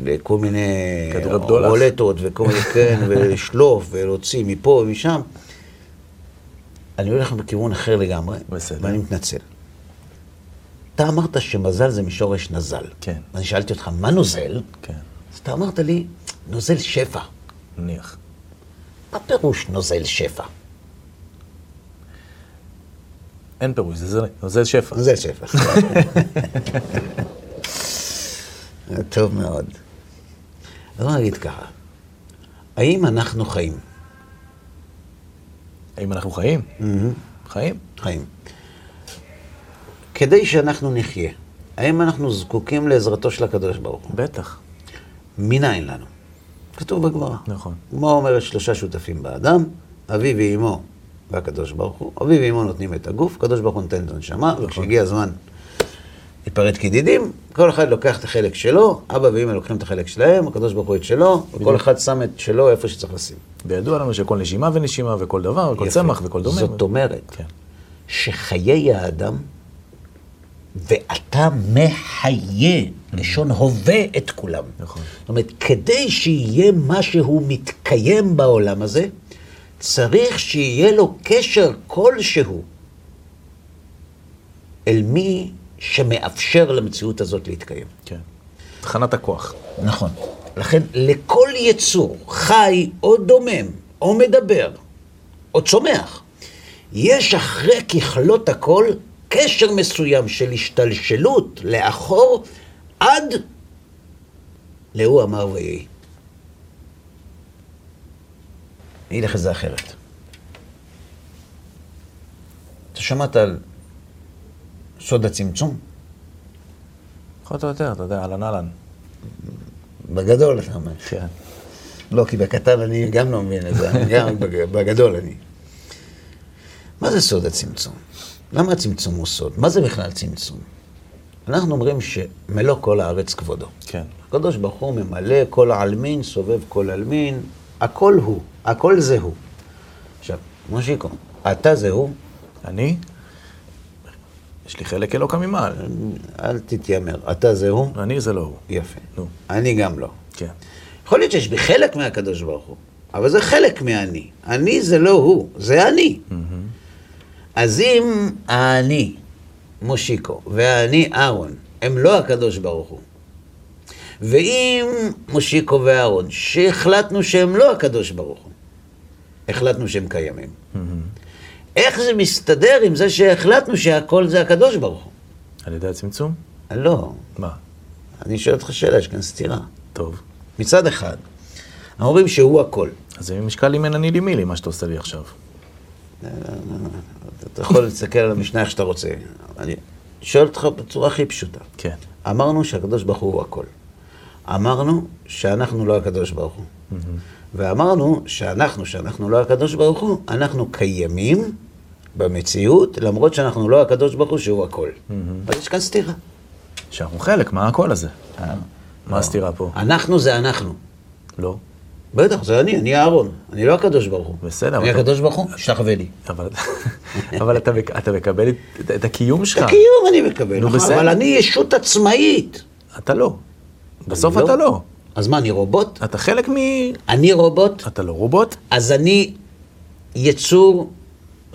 [SPEAKER 1] ולכל מיני
[SPEAKER 2] כדור הבדולח.
[SPEAKER 1] רולטות וכל מיני, כן, ולשלוף ולהוציא מפה ומשם. אני הולך בכיוון אחר לגמרי,
[SPEAKER 2] בסדר.
[SPEAKER 1] ואני מתנצל. אתה אמרת שמזל זה משורש נזל.
[SPEAKER 2] כן.
[SPEAKER 1] אני שאלתי אותך, מה נוזל?
[SPEAKER 2] כן,
[SPEAKER 1] אז אתה אמרת לי, נוזל שפע.
[SPEAKER 2] נניח.
[SPEAKER 1] מה פירוש נוזל שפע?
[SPEAKER 2] אין פירוש, זה, זה, זה שפע.
[SPEAKER 1] נוזל שפע. טוב מאוד. אז בוא נגיד ככה, האם אנחנו חיים?
[SPEAKER 2] האם אנחנו חיים? חיים.
[SPEAKER 1] חיים. כדי שאנחנו נחיה, האם אנחנו זקוקים לעזרתו של הקדוש ברוך הוא?
[SPEAKER 2] בטח.
[SPEAKER 1] מניין לנו? כתוב בגמרא.
[SPEAKER 2] נכון.
[SPEAKER 1] מה אומרת שלושה שותפים באדם? אביו ואימו והקדוש ברוך הוא. אביו ואימו נותנים את הגוף, הקדוש ברוך הוא נותן את הנשמה, וכשהגיע הזמן להיפרד כידידים, כל אחד לוקח את החלק שלו, אבא ואמא לוקחים את החלק שלהם, הקדוש ברוך הוא את שלו, וכל אחד שם את שלו איפה שצריך לשים.
[SPEAKER 2] וידוע לנו שכל נשימה ונשימה וכל דבר, וכל צמח וכל דומה.
[SPEAKER 1] זאת אומרת,
[SPEAKER 2] כן.
[SPEAKER 1] שחיי האדם, ואתה מחיה, לשון הווה את כולם.
[SPEAKER 2] Mm-hmm. נכון.
[SPEAKER 1] זאת אומרת, כדי שיהיה משהו מתקיים בעולם הזה, צריך שיהיה לו קשר כלשהו אל מי שמאפשר למציאות הזאת להתקיים.
[SPEAKER 2] כן. תחנת הכוח.
[SPEAKER 1] נכון. לכן, לכל יצור, חי או דומם, או מדבר, או צומח, יש אחרי ככלות הכל קשר מסוים של השתלשלות לאחור עד להוא אמר ויהי. אני אגיד לך את זה אחרת. אתה שמעת על סוד הצמצום?
[SPEAKER 2] פחות או יותר, אתה יודע, אהלן אהלן.
[SPEAKER 1] בגדול אתה אומר.
[SPEAKER 2] כן.
[SPEAKER 1] לא, כי בקטן אני גם לא מבין את זה, אני גם בג- בגדול אני. מה זה סוד הצמצום? למה הצמצום הוא סוד? מה זה בכלל צמצום? אנחנו אומרים שמלוא כל הארץ כבודו.
[SPEAKER 2] כן.
[SPEAKER 1] הקדוש ברוך הוא ממלא כל העלמין, סובב כל עלמין, הכל הוא, הכל זה הוא. עכשיו, מושיקו, אתה זה הוא,
[SPEAKER 2] אני? יש לי חלק אלוקא ממעל.
[SPEAKER 1] אל תתיימר, אתה זה הוא,
[SPEAKER 2] אני זה לא הוא.
[SPEAKER 1] יפה.
[SPEAKER 2] נו.
[SPEAKER 1] אני גם לא.
[SPEAKER 2] כן.
[SPEAKER 1] יכול להיות שיש בי חלק מהקדוש ברוך הוא, אבל זה חלק מהאני. אני זה לא הוא, זה אני. אז אם האני מושיקו ואני אהרון, הם לא הקדוש ברוך הוא. ואם מושיקו ואהרון, שהחלטנו שהם לא הקדוש ברוך הוא, החלטנו שהם קיימים. איך זה מסתדר עם זה שהחלטנו שהכל זה הקדוש ברוך הוא?
[SPEAKER 2] על ידי הצמצום?
[SPEAKER 1] לא,
[SPEAKER 2] מה?
[SPEAKER 1] אני שואל אותך שאלה, יש כאן סתירה.
[SPEAKER 2] טוב.
[SPEAKER 1] מצד אחד, אומרים שהוא הכל.
[SPEAKER 2] אז זה משקל אם אין אני לי מי לי מה שאתה עושה לי עכשיו.
[SPEAKER 1] אתה יכול להסתכל על המשנה איך שאתה רוצה. אני שואל אותך בצורה הכי פשוטה.
[SPEAKER 2] כן.
[SPEAKER 1] אמרנו שהקדוש ברוך הוא הכל. אמרנו שאנחנו לא הקדוש ברוך הוא. ואמרנו שאנחנו, שאנחנו לא הקדוש ברוך הוא, אנחנו קיימים במציאות, למרות שאנחנו לא הקדוש ברוך הוא שהוא הכל. אז יש כאן סתירה.
[SPEAKER 2] שאנחנו חלק, מה הקול הזה? אה,
[SPEAKER 1] לא.
[SPEAKER 2] מה הסתירה פה?
[SPEAKER 1] אנחנו זה אנחנו.
[SPEAKER 2] לא.
[SPEAKER 1] בטח, זה אני, אני אהרון. אני לא הקדוש ברוך הוא.
[SPEAKER 2] בסדר,
[SPEAKER 1] אני
[SPEAKER 2] אבל-
[SPEAKER 1] הקדוש ברוך הוא, שתחווה לי.
[SPEAKER 2] אבל אבל אתה מק- אתה מקבל את- את הקיום
[SPEAKER 1] את
[SPEAKER 2] שלך.
[SPEAKER 1] הקיום אני מקבל,
[SPEAKER 2] כן. נו,
[SPEAKER 1] נכון?
[SPEAKER 2] בסדר.
[SPEAKER 1] אבל אני ישות עצמאית.
[SPEAKER 2] אתה לא. בסוף
[SPEAKER 1] אני
[SPEAKER 2] אתה לא.
[SPEAKER 1] אז מה, אני רובוט?
[SPEAKER 2] אתה חלק מ...
[SPEAKER 1] אני רובוט,
[SPEAKER 2] אתה לא רובוט?
[SPEAKER 1] אז אני יצור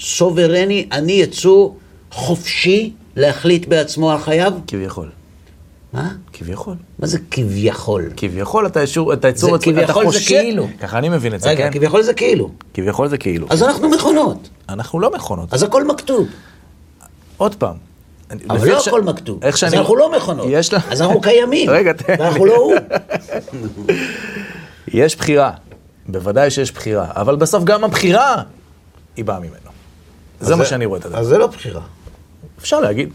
[SPEAKER 1] סוברני, אני יצור חופשי להחליט בעצמו על חייו?
[SPEAKER 2] כביכול.
[SPEAKER 1] מה?
[SPEAKER 2] כביכול.
[SPEAKER 1] מה זה כביכול?
[SPEAKER 2] כביכול אתה ישור, אתה
[SPEAKER 1] זה-
[SPEAKER 2] יצור, עצמי, אתה
[SPEAKER 1] כביכול זה
[SPEAKER 2] חושב...
[SPEAKER 1] כאילו.
[SPEAKER 2] ככה אני מבין את זה,
[SPEAKER 1] רגע,
[SPEAKER 2] כן?
[SPEAKER 1] כביכול זה כאילו.
[SPEAKER 2] כביכול זה כאילו.
[SPEAKER 1] אז אנחנו מכונות,
[SPEAKER 2] אנחנו לא מכונות.
[SPEAKER 1] אז הכל מכתוב.
[SPEAKER 2] עוד פעם. אני-
[SPEAKER 1] אבל
[SPEAKER 2] לפי
[SPEAKER 1] לא
[SPEAKER 2] איך ש-
[SPEAKER 1] הכל מכתוב.
[SPEAKER 2] איך
[SPEAKER 1] אז
[SPEAKER 2] שאני-
[SPEAKER 1] אנחנו לא מכונות.
[SPEAKER 2] יש לה-
[SPEAKER 1] אז אנחנו קיימים.
[SPEAKER 2] רגע, תן לי.
[SPEAKER 1] ואנחנו לא הוא.
[SPEAKER 2] יש בחירה. בוודאי שיש בחירה. אבל בסוף גם הבחירה, היא באה ממנו. זה
[SPEAKER 1] אז
[SPEAKER 2] מה שאני רואה את הדבר.
[SPEAKER 1] אז זה לא בחירה.
[SPEAKER 2] אפשר להגיד.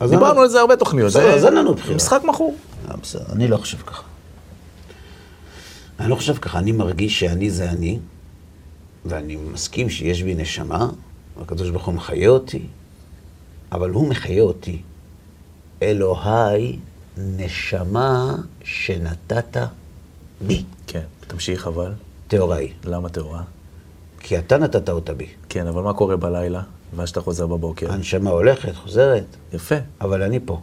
[SPEAKER 1] אז
[SPEAKER 2] דיברנו
[SPEAKER 1] אנחנו-
[SPEAKER 2] על זה הרבה תוכניות.
[SPEAKER 1] בסדר,
[SPEAKER 2] זה-
[SPEAKER 1] אז אין לנו בחירה.
[SPEAKER 2] משחק מכור.
[SPEAKER 1] אה, בסדר, אני לא חושב ככה. אני לא חושב ככה, אני מרגיש שאני זה אני, ואני מסכים שיש בי נשמה, והקדוש ברוך הוא מחיה אותי, אבל הוא מחיה אותי. אלוהי, נשמה שנתת בי,
[SPEAKER 2] כן. תמשיך אבל.
[SPEAKER 1] טהוראי,
[SPEAKER 2] למה טהורה?
[SPEAKER 1] כי אתה נתת אותה בי.
[SPEAKER 2] כן, אבל מה קורה בלילה? ואז שאתה חוזר בבוקר.
[SPEAKER 1] הנשמה הולכת, חוזרת,
[SPEAKER 2] יפה.
[SPEAKER 1] אבל אני פה.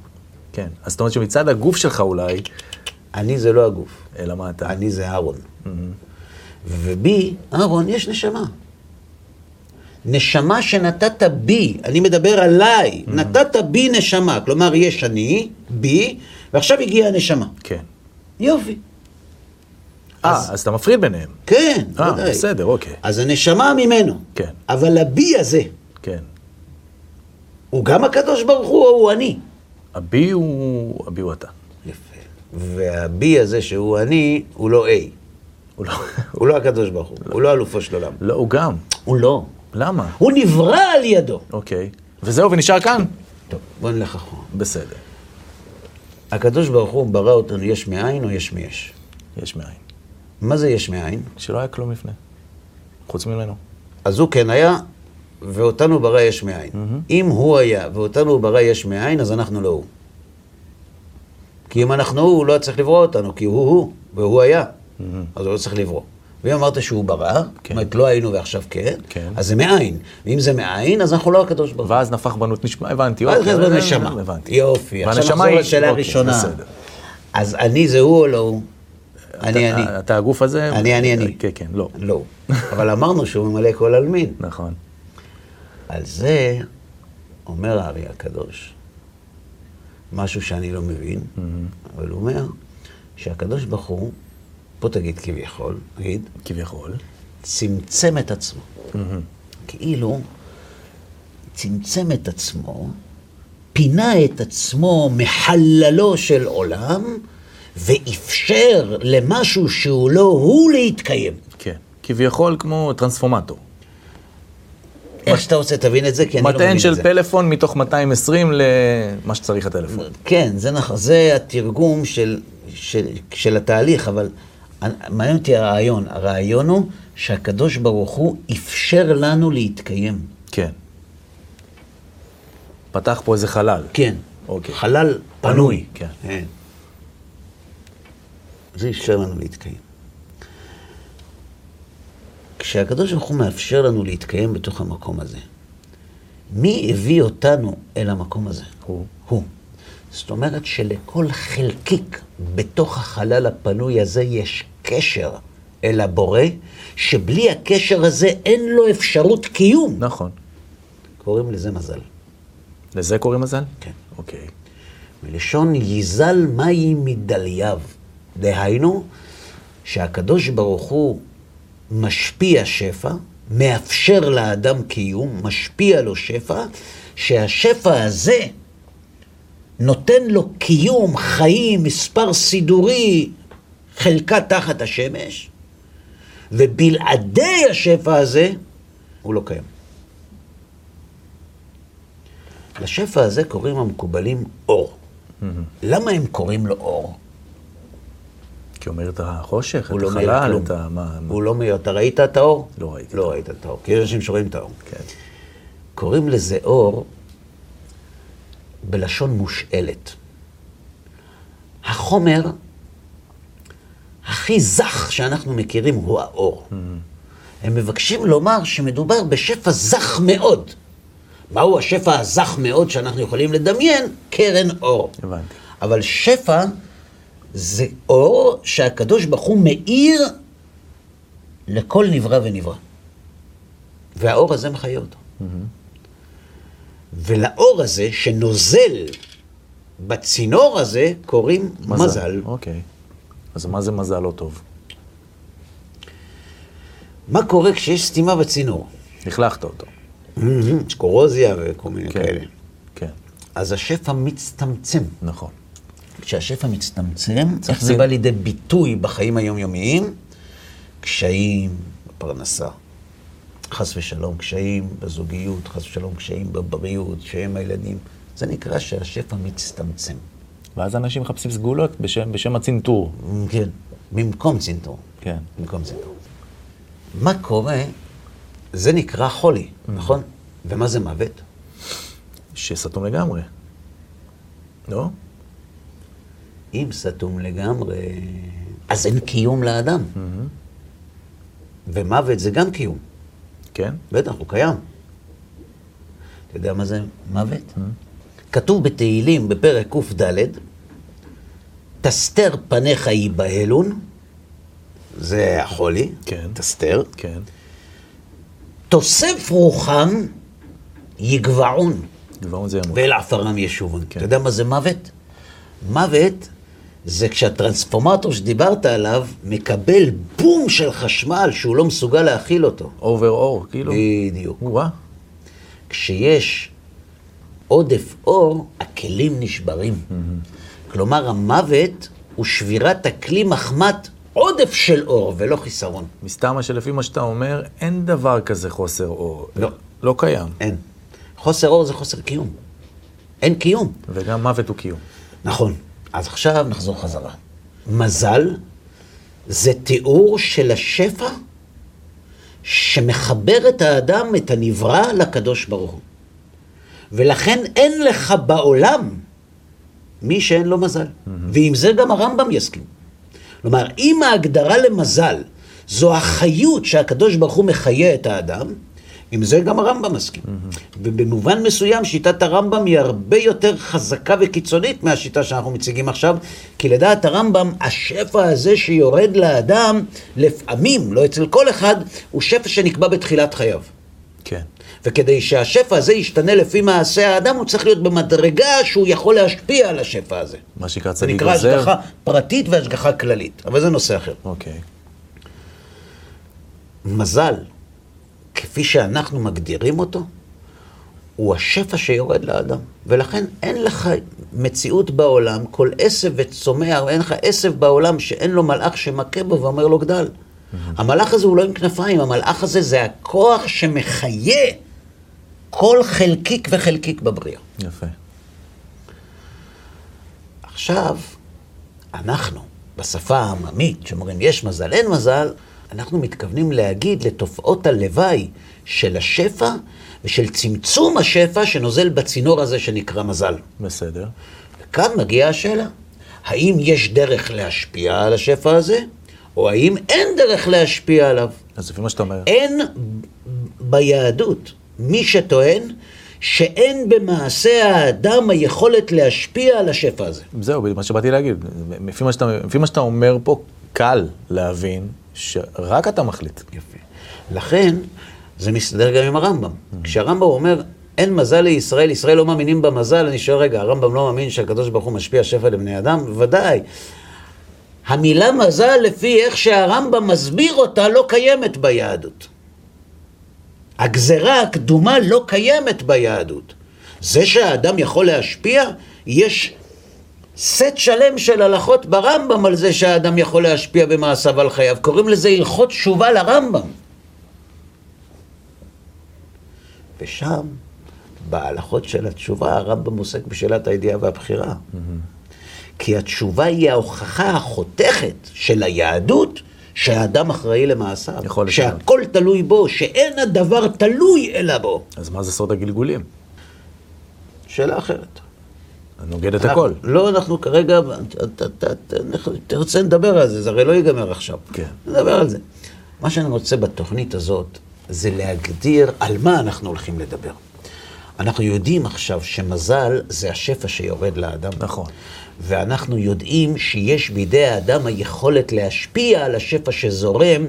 [SPEAKER 2] כן. אז זאת אומרת שמצד הגוף שלך אולי,
[SPEAKER 1] אני זה לא הגוף,
[SPEAKER 2] אלא מה אתה?
[SPEAKER 1] אני זה אהרון. ובי, אהרון, יש נשמה. נשמה שנתת בי, אני מדבר עליי, נתת בי נשמה. כלומר, יש אני, בי, ועכשיו הגיעה הנשמה.
[SPEAKER 2] כן.
[SPEAKER 1] יופי. אז-
[SPEAKER 2] אה, אז אתה מפריד ביניהם.
[SPEAKER 1] כן,
[SPEAKER 2] אה,
[SPEAKER 1] ודאי.
[SPEAKER 2] בסדר, אוקיי.
[SPEAKER 1] אז הנשמה ממנו.
[SPEAKER 2] כן.
[SPEAKER 1] אבל הבי הזה,
[SPEAKER 2] כן.
[SPEAKER 1] הוא גם הקדוש ברוך הוא או הוא אני?
[SPEAKER 2] הבי הוא... הבי הוא אתה.
[SPEAKER 1] יפה. והבי הזה שהוא אני, הוא לא A.
[SPEAKER 2] הוא לא...
[SPEAKER 1] הוא לא הקדוש ברוך הוא, הוא לא אלופו של עולם.
[SPEAKER 2] לא, הוא גם.
[SPEAKER 1] הוא לא.
[SPEAKER 2] למה?
[SPEAKER 1] הוא נברא על ידו.
[SPEAKER 2] אוקיי. וזהו, ונשאר כאן?
[SPEAKER 1] טוב, בוא נלך אחורה.
[SPEAKER 2] בסדר.
[SPEAKER 1] הקדוש ברוך הוא ברא אותנו יש מאין או יש מיש?
[SPEAKER 2] יש מאין.
[SPEAKER 1] מה זה יש מאין?
[SPEAKER 2] שלא היה כלום לפני. חוץ ממנו.
[SPEAKER 1] אז הוא כן היה, ואותנו ברא יש מאין. אם הוא היה ואותנו הוא ברא יש מאין, אז אנחנו לא הוא. כי אם אנחנו הוא, הוא לא היה צריך לברוא אותנו, כי הוא הוא, והוא היה. אז הוא לא צריך לברוא. ואם אמרת שהוא ברא, זאת
[SPEAKER 2] כן.
[SPEAKER 1] אומרת לא היינו ועכשיו כן,
[SPEAKER 2] כן.
[SPEAKER 1] אז זה מאין. ואם זה מאין, אז אנחנו לא הקדוש ברוך הוא.
[SPEAKER 2] ואז נפח בנות נשמה, הבנתי.
[SPEAKER 1] ואז
[SPEAKER 2] אוקיי,
[SPEAKER 1] נכנס בנשמה.
[SPEAKER 2] הבנתי.
[SPEAKER 1] יופי, עכשיו
[SPEAKER 2] והנשמה
[SPEAKER 1] נחזור
[SPEAKER 2] היא-
[SPEAKER 1] לשאלה
[SPEAKER 2] אוקיי,
[SPEAKER 1] הראשונה.
[SPEAKER 2] בסדר.
[SPEAKER 1] אז אני זה הוא או לא הוא? אני אני.
[SPEAKER 2] אתה- אתה הגוף הזה?
[SPEAKER 1] אני אני אני.
[SPEAKER 2] כן, כן, לא.
[SPEAKER 1] לא. אבל אמרנו שהוא ממלא כל עלמין.
[SPEAKER 2] נכון.
[SPEAKER 1] על זה אומר הארי הקדוש, משהו שאני לא מבין, אבל הוא אומר שהקדוש ברוך הוא, פה תגיד כביכול, תגיד,
[SPEAKER 2] כביכול.
[SPEAKER 1] צמצם את עצמו.
[SPEAKER 2] Mm-hmm.
[SPEAKER 1] כאילו, צמצם את עצמו, פינה את עצמו מחללו של עולם, ואפשר למשהו שהוא לא הוא להתקיים.
[SPEAKER 2] כן. כביכול כמו טרנספורמטור.
[SPEAKER 1] איך שאתה רוצה, תבין את זה, כי אני לא מבין
[SPEAKER 2] מטען
[SPEAKER 1] את זה.
[SPEAKER 2] של פלאפון מתוך 220 למה שצריך הטלפון.
[SPEAKER 1] כן, זה נכון, זה התרגום של, של, של התהליך, אבל מעניין אותי הרעיון. הרעיון הוא שהקדוש ברוך הוא אפשר לנו להתקיים.
[SPEAKER 2] כן. פתח פה איזה חלל.
[SPEAKER 1] כן.
[SPEAKER 2] אוקיי.
[SPEAKER 1] חלל פנוי.
[SPEAKER 2] פנוי, כן.
[SPEAKER 1] זה אפשר לנו להתקיים. כשהקדוש ברוך הוא מאפשר לנו להתקיים בתוך המקום הזה, מי הביא אותנו אל המקום הזה?
[SPEAKER 2] הוא.
[SPEAKER 1] הוא. זאת אומרת שלכל חלקיק בתוך החלל הפנוי הזה יש קשר אל הבורא, שבלי הקשר הזה אין לו אפשרות קיום.
[SPEAKER 2] נכון.
[SPEAKER 1] קוראים לזה מזל.
[SPEAKER 2] לזה קוראים מזל?
[SPEAKER 1] כן.
[SPEAKER 2] אוקיי.
[SPEAKER 1] מלשון ייזל מים מדלייו. דהיינו, שהקדוש ברוך הוא משפיע שפע, מאפשר לאדם קיום, משפיע לו שפע, שהשפע הזה נותן לו קיום, חיים, מספר סידורי, חלקה תחת השמש, ובלעדי השפע הזה הוא לא קיים. לשפע הזה קוראים המקובלים אור. למה הם קוראים לו אור?
[SPEAKER 2] כי אומר את החושך,
[SPEAKER 1] הוא
[SPEAKER 2] את
[SPEAKER 1] לא מאיר
[SPEAKER 2] החלל,
[SPEAKER 1] כלום.
[SPEAKER 2] את ה... מה... מה-
[SPEAKER 1] הוא לא מאיר. אתה ראית את האור?
[SPEAKER 2] לא ראיתי את
[SPEAKER 1] לא ראית את האור, כי יש אנשים שרואים את האור.
[SPEAKER 2] כן.
[SPEAKER 1] קוראים לזה אור בלשון מושאלת. החומר הכי זך שאנחנו מכירים הוא האור. הם מבקשים לומר שמדובר בשפע זך מאוד. מהו השפע הזך מאוד שאנחנו יכולים לדמיין? קרן אור.
[SPEAKER 2] הבנתי.
[SPEAKER 1] אבל שפע זה אור שהקדוש ברוך הוא מאיר לכל נברא ונברא. והאור הזה מחיה אותו. ולאור הזה שנוזל בצינור הזה קוראים מזל.
[SPEAKER 2] אוקיי. אז מה זה מזל לא טוב?
[SPEAKER 1] מה קורה כשיש סתימה בצינור?
[SPEAKER 2] לכלכת אותו.
[SPEAKER 1] יש קורוזיה וכל מיני
[SPEAKER 2] כן.
[SPEAKER 1] כאלה.
[SPEAKER 2] כן,
[SPEAKER 1] אז השפע מצטמצם.
[SPEAKER 2] נכון.
[SPEAKER 1] כשהשפע מצטמצם,
[SPEAKER 2] צריך
[SPEAKER 1] איך זה
[SPEAKER 2] זה-
[SPEAKER 1] בא לידי ביטוי בחיים היומיומיים? קשיים בפרנסה, חס ושלום, קשיים בזוגיות, חס ושלום, קשיים בבריאות, קשיים בילדים. זה נקרא שהשפע מצטמצם.
[SPEAKER 2] ואז אנשים מחפשים סגולות בשם, בשם הצנתור.
[SPEAKER 1] כן. במקום צנתור.
[SPEAKER 2] כן.
[SPEAKER 1] במקום צנתור. מה קורה? זה נקרא חולי, נכון? ומה זה מוות?
[SPEAKER 2] שסתום לגמרי. לא?
[SPEAKER 1] אם סתום לגמרי, אז אין קיום לאדם. ומוות זה גם קיום.
[SPEAKER 2] כן?
[SPEAKER 1] בטח, הוא קיים. אתה יודע מה זה מוות? כתוב בתהילים בפרק קד, תסתר פניך ייבהלון, זה החולי,
[SPEAKER 2] כן.
[SPEAKER 1] תסתר,
[SPEAKER 2] כן.
[SPEAKER 1] תוסף רוחם יגבעון,
[SPEAKER 2] גבעון זה ימות.
[SPEAKER 1] ואל עפרם ישובון. אתה יודע מה זה מוות? מוות זה כשהטרנספורמטור שדיברת עליו מקבל בום של חשמל שהוא לא מסוגל להכיל אותו.
[SPEAKER 2] אובר אור, כאילו.
[SPEAKER 1] בדיוק.
[SPEAKER 2] וואה.
[SPEAKER 1] כשיש עודף אור, הכלים נשברים. כלומר, המוות הוא שבירת הכלי מחמת עודף של אור ולא חיסרון.
[SPEAKER 2] מסתמה שלפי מה שאתה אומר, אין דבר כזה חוסר אור.
[SPEAKER 1] לא.
[SPEAKER 2] לא קיים.
[SPEAKER 1] אין. חוסר אור זה חוסר קיום. אין קיום.
[SPEAKER 2] וגם מוות הוא קיום.
[SPEAKER 1] נכון. אז עכשיו נחזור חזרה. מזל זה תיאור של השפע שמחבר את האדם, את הנברא, לקדוש ברוך הוא. ולכן אין לך בעולם מי שאין לו מזל. ועם זה גם הרמב"ם יסכים. כלומר, אם ההגדרה למזל זו החיות שהקדוש ברוך הוא מחיה את האדם, עם זה גם הרמב"ם מסכים. ובמובן מסוים שיטת הרמב"ם היא הרבה יותר חזקה וקיצונית מהשיטה שאנחנו מציגים עכשיו, כי לדעת הרמב"ם, השפע הזה שיורד לאדם, לפעמים, לא אצל כל אחד, הוא שפע שנקבע בתחילת חייו.
[SPEAKER 2] כן.
[SPEAKER 1] וכדי שהשפע הזה ישתנה לפי מעשה האדם, הוא צריך להיות במדרגה שהוא יכול להשפיע על השפע הזה.
[SPEAKER 2] מה שנקרא
[SPEAKER 1] זה
[SPEAKER 2] צדיק
[SPEAKER 1] נקרא
[SPEAKER 2] עוזר.
[SPEAKER 1] השגחה פרטית והשגחה כללית, אבל זה נושא אחר.
[SPEAKER 2] אוקיי.
[SPEAKER 1] מזל, כפי שאנחנו מגדירים אותו, הוא השפע שיורד לאדם. ולכן אין לך מציאות בעולם, כל עשב וצומח, אין לך עשב בעולם שאין לו מלאך שמכה בו ואומר לו גדל. המלאך הזה הוא לא עם כנפיים, המלאך הזה זה הכוח שמחיה כל חלקיק וחלקיק בבריאה.
[SPEAKER 2] יפה.
[SPEAKER 1] עכשיו, אנחנו, בשפה העממית, שאומרים יש מזל, אין מזל, אנחנו מתכוונים להגיד לתופעות הלוואי של השפע ושל צמצום השפע שנוזל בצינור הזה שנקרא מזל.
[SPEAKER 2] בסדר.
[SPEAKER 1] וכאן מגיעה השאלה, האם יש דרך להשפיע על השפע הזה, או האם אין דרך להשפיע עליו?
[SPEAKER 2] אז לפי מה שאתה אומר,
[SPEAKER 1] אין ביהדות מי שטוען שאין במעשה האדם היכולת להשפיע על השפע הזה.
[SPEAKER 2] זהו, בדיוק מה שבאתי להגיד. לפי מה שאתה, לפי מה שאתה אומר פה, קל להבין שרק אתה מחליט.
[SPEAKER 1] יפה. לכן, זה מסתדר גם עם הרמב"ם. כשהרמב"ם אומר, אין מזל לישראל, ישראל לא מאמינים במזל, אני שואל רגע, הרמב"ם לא מאמין שהקדוש ברוך הוא משפיע שפע לבני אדם? ודאי. המילה מזל, לפי איך שהרמב"ם מסביר אותה, לא קיימת ביהדות. הגזרה הקדומה לא קיימת ביהדות. זה שהאדם יכול להשפיע, יש סט שלם של הלכות ברמב"ם על זה שהאדם יכול להשפיע במעשיו על חייו. קוראים לזה הלכות תשובה לרמב"ם. ושם, בהלכות של התשובה, הרמב"ם עוסק בשאלת הידיעה והבחירה. כי התשובה היא ההוכחה החותכת של היהדות שהאדם אחראי למעשיו.
[SPEAKER 2] יכול להיות.
[SPEAKER 1] שהכל תלוי בו, שאין הדבר תלוי אלא בו.
[SPEAKER 2] אז מה זה סוד הגלגולים?
[SPEAKER 1] שאלה אחרת.
[SPEAKER 2] נוגד את הכל.
[SPEAKER 1] אנחנו- לא, אנחנו כרגע, אתה- אתה- אתה- אנחנו- תרצה נדבר על זה, זה הרי לא ייגמר עכשיו.
[SPEAKER 2] כן.
[SPEAKER 1] נדבר על זה. מה שאני רוצה בתוכנית הזאת, זה להגדיר על מה אנחנו הולכים לדבר. אנחנו יודעים עכשיו שמזל זה השפע שיורד לאדם.
[SPEAKER 2] נכון.
[SPEAKER 1] ואנחנו יודעים שיש בידי האדם היכולת להשפיע על השפע שזורם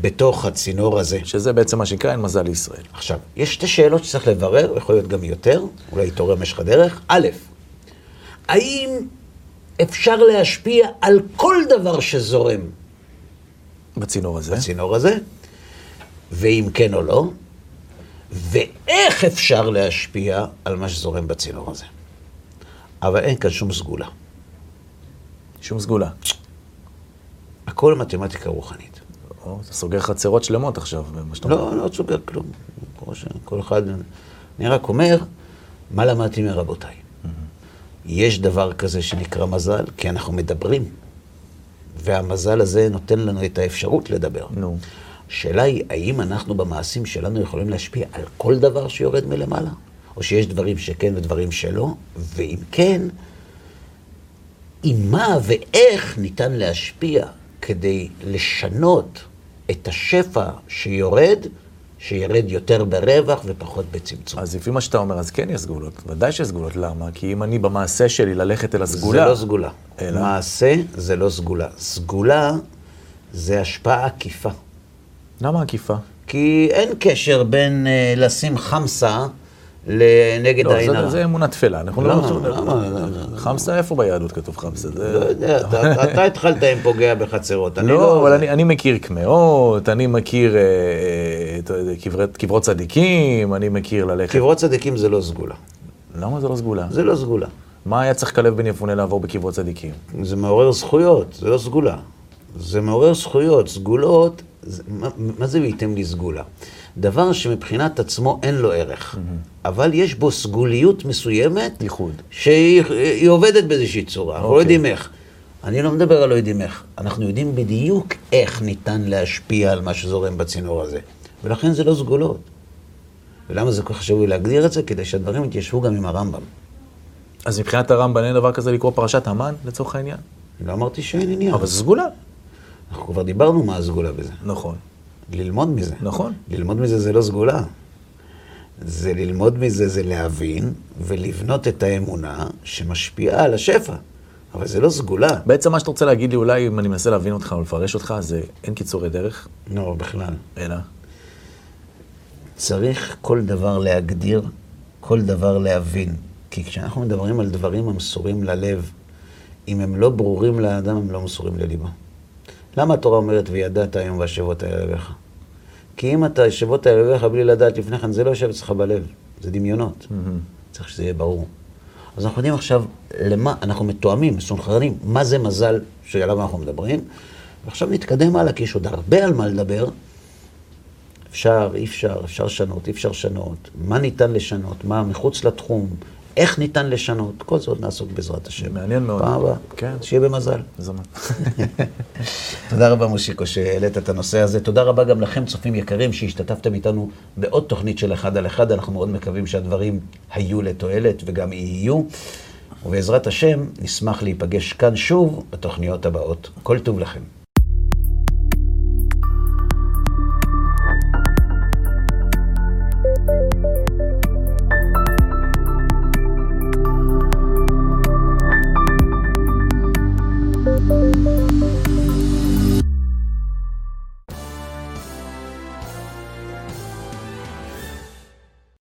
[SPEAKER 1] בתוך הצינור הזה.
[SPEAKER 2] שזה בעצם מה שנקרא אין מזל לישראל.
[SPEAKER 1] עכשיו, יש שתי שאלות שצריך לברר, יכול להיות גם יותר, אולי יתעורר במשך הדרך. א', האם אפשר להשפיע על כל דבר שזורם
[SPEAKER 2] בצינור הזה.
[SPEAKER 1] בצינור הזה? ואם כן או לא? ואיך אפשר להשפיע על מה שזורם בצינור הזה? אבל אין כאן שום סגולה.
[SPEAKER 2] שום סגולה.
[SPEAKER 1] הכל מתמטיקה רוחנית.
[SPEAKER 2] או, אתה סוגר חצרות שלמות עכשיו, במה שאתה אומר.
[SPEAKER 1] לא, לא סוגר כלום. כמו שכל אחד... אני רק אומר, מה למדתי מרבותיי?
[SPEAKER 2] Mm-hmm.
[SPEAKER 1] יש דבר כזה שנקרא מזל, כי אנחנו מדברים. והמזל הזה נותן לנו את האפשרות לדבר.
[SPEAKER 2] נו.
[SPEAKER 1] השאלה היא, האם אנחנו במעשים שלנו יכולים להשפיע על כל דבר שיורד מלמעלה? או שיש דברים שכן ודברים שלא? ואם כן, עם מה ואיך ניתן להשפיע כדי לשנות את השפע שיורד, שירד יותר ברווח ופחות בצמצום.
[SPEAKER 2] אז לפי מה שאתה אומר, אז כן יש סגולות. ודאי שיש סגולות. למה? כי אם אני במעשה שלי ללכת אל הסגולה...
[SPEAKER 1] זה לא סגולה.
[SPEAKER 2] אלא?
[SPEAKER 1] מעשה זה לא סגולה. סגולה זה השפעה עקיפה.
[SPEAKER 2] למה עקיפה?
[SPEAKER 1] כי אין קשר בין אה, לשים חמסה לנגד
[SPEAKER 2] לא,
[SPEAKER 1] העין
[SPEAKER 2] זה-
[SPEAKER 1] הרע.
[SPEAKER 2] זה אמונה תפלה. אנחנו
[SPEAKER 1] למה?
[SPEAKER 2] לא...
[SPEAKER 1] למה?
[SPEAKER 2] חמסה, איפה ביהדות כתוב חמסה? זה-
[SPEAKER 1] לא יודע, אתה- אתה- אתה התחלת עם פוגע בחצרות. אני
[SPEAKER 2] לא, אבל אני, אני מכיר קמעות, אני מכיר אה, אה, אתה יודע, קברי- קברות צדיקים, אני מכיר ללכת.
[SPEAKER 1] קברות צדיקים זה לא סגולה.
[SPEAKER 2] למה זה לא סגולה?
[SPEAKER 1] זה לא סגולה.
[SPEAKER 2] מה היה צריך כלב בן יפונה לעבור בקברות צדיקים?
[SPEAKER 1] זה מעורר זכויות, זה לא סגולה. זה מעורר זכויות, סגולות, זה, מה, מה זה וייתם לי סגולה? דבר שמבחינת עצמו אין לו ערך, אבל יש בו סגוליות מסוימת,
[SPEAKER 2] Mm-hmm. ייחוד.
[SPEAKER 1] שהיא היא עובדת באיזושהי צורה, אנחנו לא
[SPEAKER 2] אוקיי.
[SPEAKER 1] יודעים איך. אני לא מדבר על לא יודעים איך, אנחנו יודעים בדיוק איך ניתן להשפיע על מה שזורם בצינור הזה, ולכן זה לא סגולות. ולמה זה כל כך חשוב לי להגדיר את זה? כדי שהדברים יתיישבו גם עם הרמב"ם.
[SPEAKER 2] אז מבחינת הרמב"ן אין דבר כזה לקרוא פרשת המן, לצורך העניין?
[SPEAKER 1] אני לא אמרתי שאין עניין,
[SPEAKER 2] אבל זו סגולה.
[SPEAKER 1] אנחנו כבר דיברנו מה הסגולה בזה.
[SPEAKER 2] נכון.
[SPEAKER 1] ללמוד מזה.
[SPEAKER 2] נכון.
[SPEAKER 1] ללמוד מזה זה לא סגולה. זה ללמוד מזה, זה להבין ולבנות את האמונה שמשפיעה על השפע. אבל זה לא סגולה.
[SPEAKER 2] בעצם מה שאתה רוצה להגיד לי, אולי אם אני מנסה להבין אותך או לפרש אותך, זה אין קיצורי דרך,
[SPEAKER 1] לא, בכלל.
[SPEAKER 2] אלא...
[SPEAKER 1] צריך כל דבר להגדיר, כל דבר להבין. כי כשאנחנו מדברים על דברים המסורים ללב, אם הם לא ברורים לאדם, הם לא מסורים לליבו. למה התורה אומרת, וידעת היום והשבות האלה אליך? כי אם אתה השבות האלה אליך בלי לדעת לפני כן, זה לא יושב אצלך בלב, זה דמיונות.
[SPEAKER 2] Mm-hmm.
[SPEAKER 1] צריך שזה יהיה ברור. אז אנחנו יודעים עכשיו למה, אנחנו מתואמים, מסונכרנים, מה זה מזל שעליו אנחנו מדברים, ועכשיו נתקדם הלאה, כי יש עוד הרבה על מה לדבר, אפשר, אי אפשר, אפשר לשנות, אי אפשר לשנות, מה ניתן לשנות, מה מחוץ לתחום, איך ניתן לשנות, כל זה עוד נעסוק בעזרת השם.
[SPEAKER 2] מעניין מאוד.
[SPEAKER 1] פעם הבאה.
[SPEAKER 2] כן.
[SPEAKER 1] שיהיה במזל.
[SPEAKER 2] זה מה.
[SPEAKER 1] תודה רבה, מושיקו, שהעלית את הנושא הזה. תודה רבה גם לכם, צופים יקרים, שהשתתפתם איתנו בעוד תוכנית של אחד על אחד. אנחנו מאוד מקווים שהדברים היו לתועלת וגם יהיו. ובעזרת השם, נשמח להיפגש כאן שוב בתוכניות הבאות. כל טוב לכם.